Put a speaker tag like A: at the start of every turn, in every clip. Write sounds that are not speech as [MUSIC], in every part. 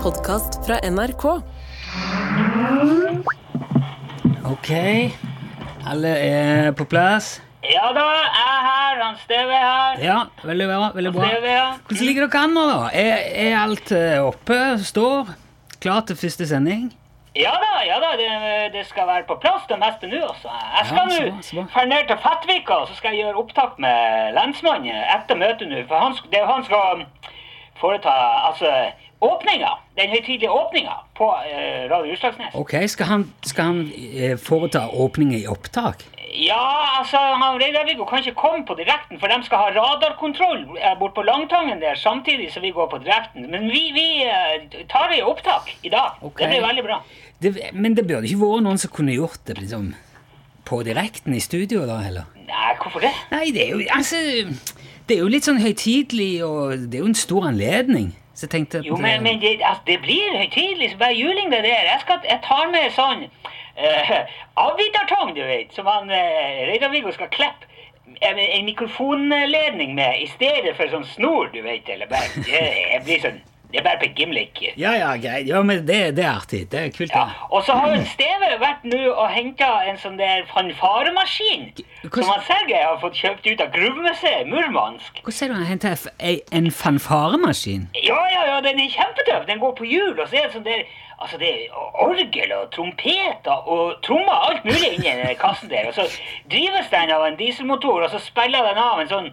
A: podkast fra NRK.
B: Ok, alle er på plass.
C: Ja da, jeg er her. Han Steve er her.
B: Ja, veldig bra. veldig bra.
C: Steve er her.
B: Hvordan ligger dere an nå, da? Er, er alt eh, oppe? Står? Klar til første sending?
C: Ja da, ja da, det, det skal være på plass det meste nå, altså. Jeg skal
B: Ja, så bra, så
C: nå
B: bra.
C: ferde ned til Fettvika, og så skal jeg gjøre opptak med lensmannen etter møtet nå. For han, sk- det er jo han skal foreta altså åpninga. Den høytidelige åpninga på eh, Radio Utslagsnes.
B: Ok, Skal han, skal han eh, foreta åpning i opptak?
C: Ja, altså, han Reidarvik kan ikke komme på direkten, for de skal ha radarkontroll eh, bort på Langtangen der samtidig som vi går på direkten. Men vi, vi eh, tar det i opptak i dag.
B: Ok.
C: Det blir veldig bra.
B: Det, men det burde ikke vært noen som kunne gjort det liksom, på direkten i studio, da heller?
C: Nei, hvorfor det?
B: Nei, det er jo altså, Det er jo litt sånn høytidelig, og det er jo en stor anledning. Så jeg tenkte at
C: Jo, men, men
B: eh,
C: det, altså, det blir høytidelig. så Bare juling det der. Jeg, skal, jeg tar med sånn uh, avbitertang, du vet, som han uh, Reidar-Viggo skal klippe. En, en mikrofonledning med i stedet for sånn snor, du vet. Eller bare, [LAUGHS] det, jeg blir sånn, det er bare på gimlik.
B: Ja, ja, greit. Ja, men det, det er artig. Det er kult.
C: Ja,
B: det.
C: og så har jo Steve vært nå og henta en sånn der fanfaremaskin.
B: Hvordan-
C: Som han Sergej har fått kjøpt ut av gruvemuseet i Murmansk.
B: Hvor sier du han henter f- ei- en fanfaremaskin?
C: Ja, ja, ja, den er kjempetøff. Den går på hjul, og så er det sånn der Altså, det er orgel og trompeter og trommer, alt mulig inni den der kassen der. Og så drives den av en dieselmotor, og så spiller den av en sånn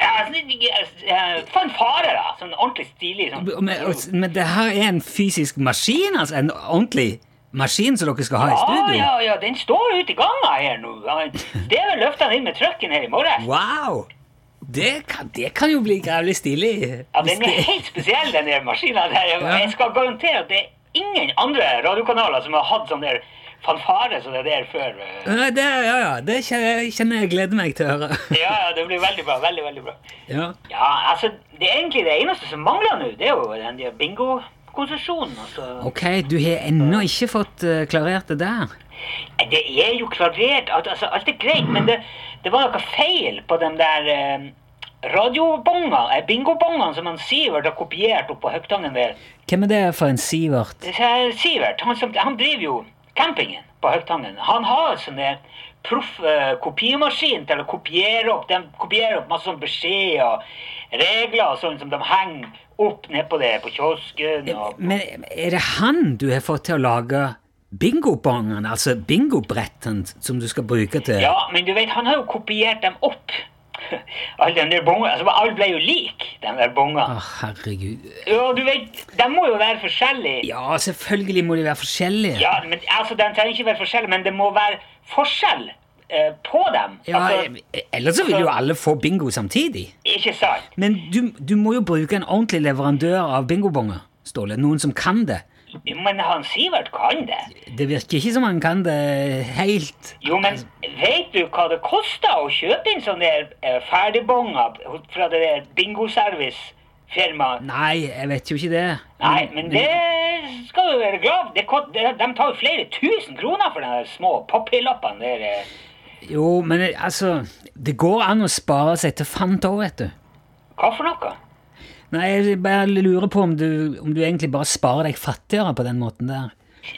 C: ja, sånn- eh, fanfare, da. Sånn ordentlig stilig sånn.
B: Men, men det her er en fysisk maskin, altså? En ordentlig maskin som dere skal ha i
C: Ja,
B: studio?
C: ja, ja, den står ute i ganga her nå. Han- Steve løfta den inn med trucken her i morges.
B: Wow! Det kan, det kan jo bli grævlig stilig.
C: Ja,
B: Hvis
C: den er
B: det-
C: helt spesiell, den der maskinen der.
B: Ja.
C: Jeg skal garantere at det er ingen andre radiokanaler som har hatt sånn der fanfare som det der før. eh,
B: Ja, det, ja, ja, det kjenner kjenner jeg gleder meg til å høre.
C: Ja, ja, det blir veldig bra. Veldig, veldig bra.
B: Ja.
C: Ja, altså, det er egentlig det eneste som mangler nå, det er jo den der bingokonsesjonen. Altså.
B: Ok, du har ennå ikke fått eh, klarert det der.
C: Nei, Det er jo klarert. alt- Altså, alt er greit, men det, det var noe feil på de der eh, radiobongene, eh, bingobongene som han Sivert har kopiert opp på Høgtangen der.
B: Hvem er det for en Sivert?
C: Det er Sivert, han, som, han driver jo campingen på Høgtangen. Han har sånn en proff eh, kopimaskin til å kopiere opp. De kopierer opp masse sånn beskjed og regler og sånn som de henger opp nedpå det på kiosken og
B: Men er det han du har fått til å lage bingobongen, altså bingobretten, som du skal bruke til
C: Ja, men du vet, han har jo kopiert dem opp. [LAUGHS] Alle de der bongene. Altså, alle ble jo like, de der bongene.
B: Å, herregud.
C: Ja, du vet, de må jo være forskjellige.
B: Ja, selvfølgelig må de være forskjellige.
C: Ja, men altså, de trenger ikke være forskjellige, men det må være forskjell eh, på dem.
B: Ja,
C: altså,
B: eh, ellers så vil jo alle få bingo samtidig.
C: ikke sant?
B: Men du, du må jo bruke en ordentlig leverandør av bingobonger, Ståle. Noen som kan det.
C: Jo, Men han Sivert kan det.
B: Det virker ikke som han kan det helt.
C: Jo, men vet du hva det koster å kjøpe inn sånne der, eh, ferdigbonger fra det der bingoservice-firmaet?
B: Nei, jeg vet jo ikke det.
C: Nei,
B: Mm.
C: men det skal du være glad for. Det ko- det- De tar jo flere tusen kroner for de der små papirlappene der. eh.
B: Jo, men eh, altså Det går an å spare seg til fant òg, vet du.
C: Hva for noe?
B: Nei, jeg bare lurer på om du, om du egentlig bare sparer deg fattigere på den måten der.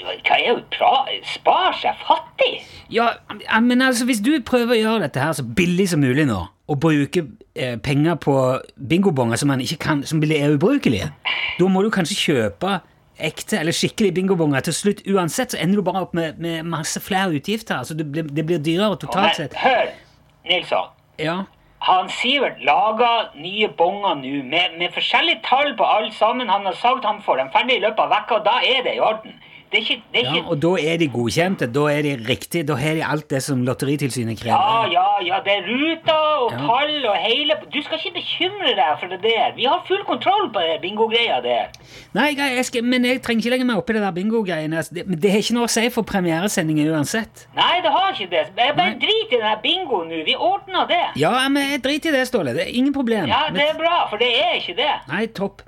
C: Hva er jo pra... Spar seg fattig?
B: Ja, ja, men altså, hvis du prøver å gjøre dette her så billig som mulig nå, og bruke eh, penger på bingobonger som, man ikke kan, som blir- er ubrukelige, da må du kanskje kjøpe ekte eller skikkelige bingobonger til slutt. Uansett så ender du bare opp med, med masse flere utgifter. Altså, det, blir, det blir dyrere totalt
C: Men
B: sett.
C: hør, Nilsson.
B: Ja,
C: Han Sivert lager nye bonger nå med, med forskjellige tall på alle sammen. Han har sagt han får dem ferdig i løpet av vekka, og da er det i orden. Det er ikke, det er
B: ja,
C: ikke
B: og da er de godkjente, da er de riktige, da har de alt det som Lotteritilsynet
C: Ja,
B: krever.
C: ja, ja, det er ruter og
B: Ja.
C: tall og hele Du skal ikke bekymre deg for det der. Vi har full kontroll på det bingo-greia der.
B: Nei, grei, jeg skal, men jeg trenger ikke legge meg opp i det der bingo-greiene. altså, Det, men det har ikke noe å si for premieresendingen uansett.
C: Nei, det har ikke det. Jeg
B: Nei.
C: bare drit i den her bingoen nå. Vi ordner det.
B: Ja, men jeg driter i det, Ståle. Det er ingen problem.
C: Ja,
B: Men-
C: det er bra, for det er ikke det.
B: Nei, topp.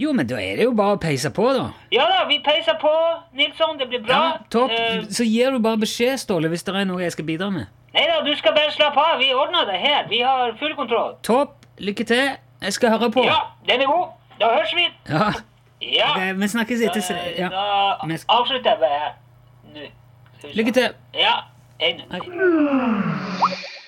B: Jo, men da er det jo bare å peise på, da.
C: Ja da, vi peiser på, Nilsson. Det blir bra.
B: topp.
C: Eh,
B: Så gir du bare beskjed, Ståle, hvis det er noe jeg skal bidra med.
C: nei da, du skal bare slappe av. Vi ordner det her. Vi har full kontroll.
B: Topp. Lykke til. Jeg skal høre på.
C: Ja, den er god. Da høres vi.
B: Ja. [LAUGHS]
C: Ja.
B: Ok, vi snakkes etter
C: Da,
B: se- ja.
C: da
B: Vi sk-
C: avslutter jeg bare nå. Skal vi se.
B: Lykke til.
C: Ja. En.
B: Hei.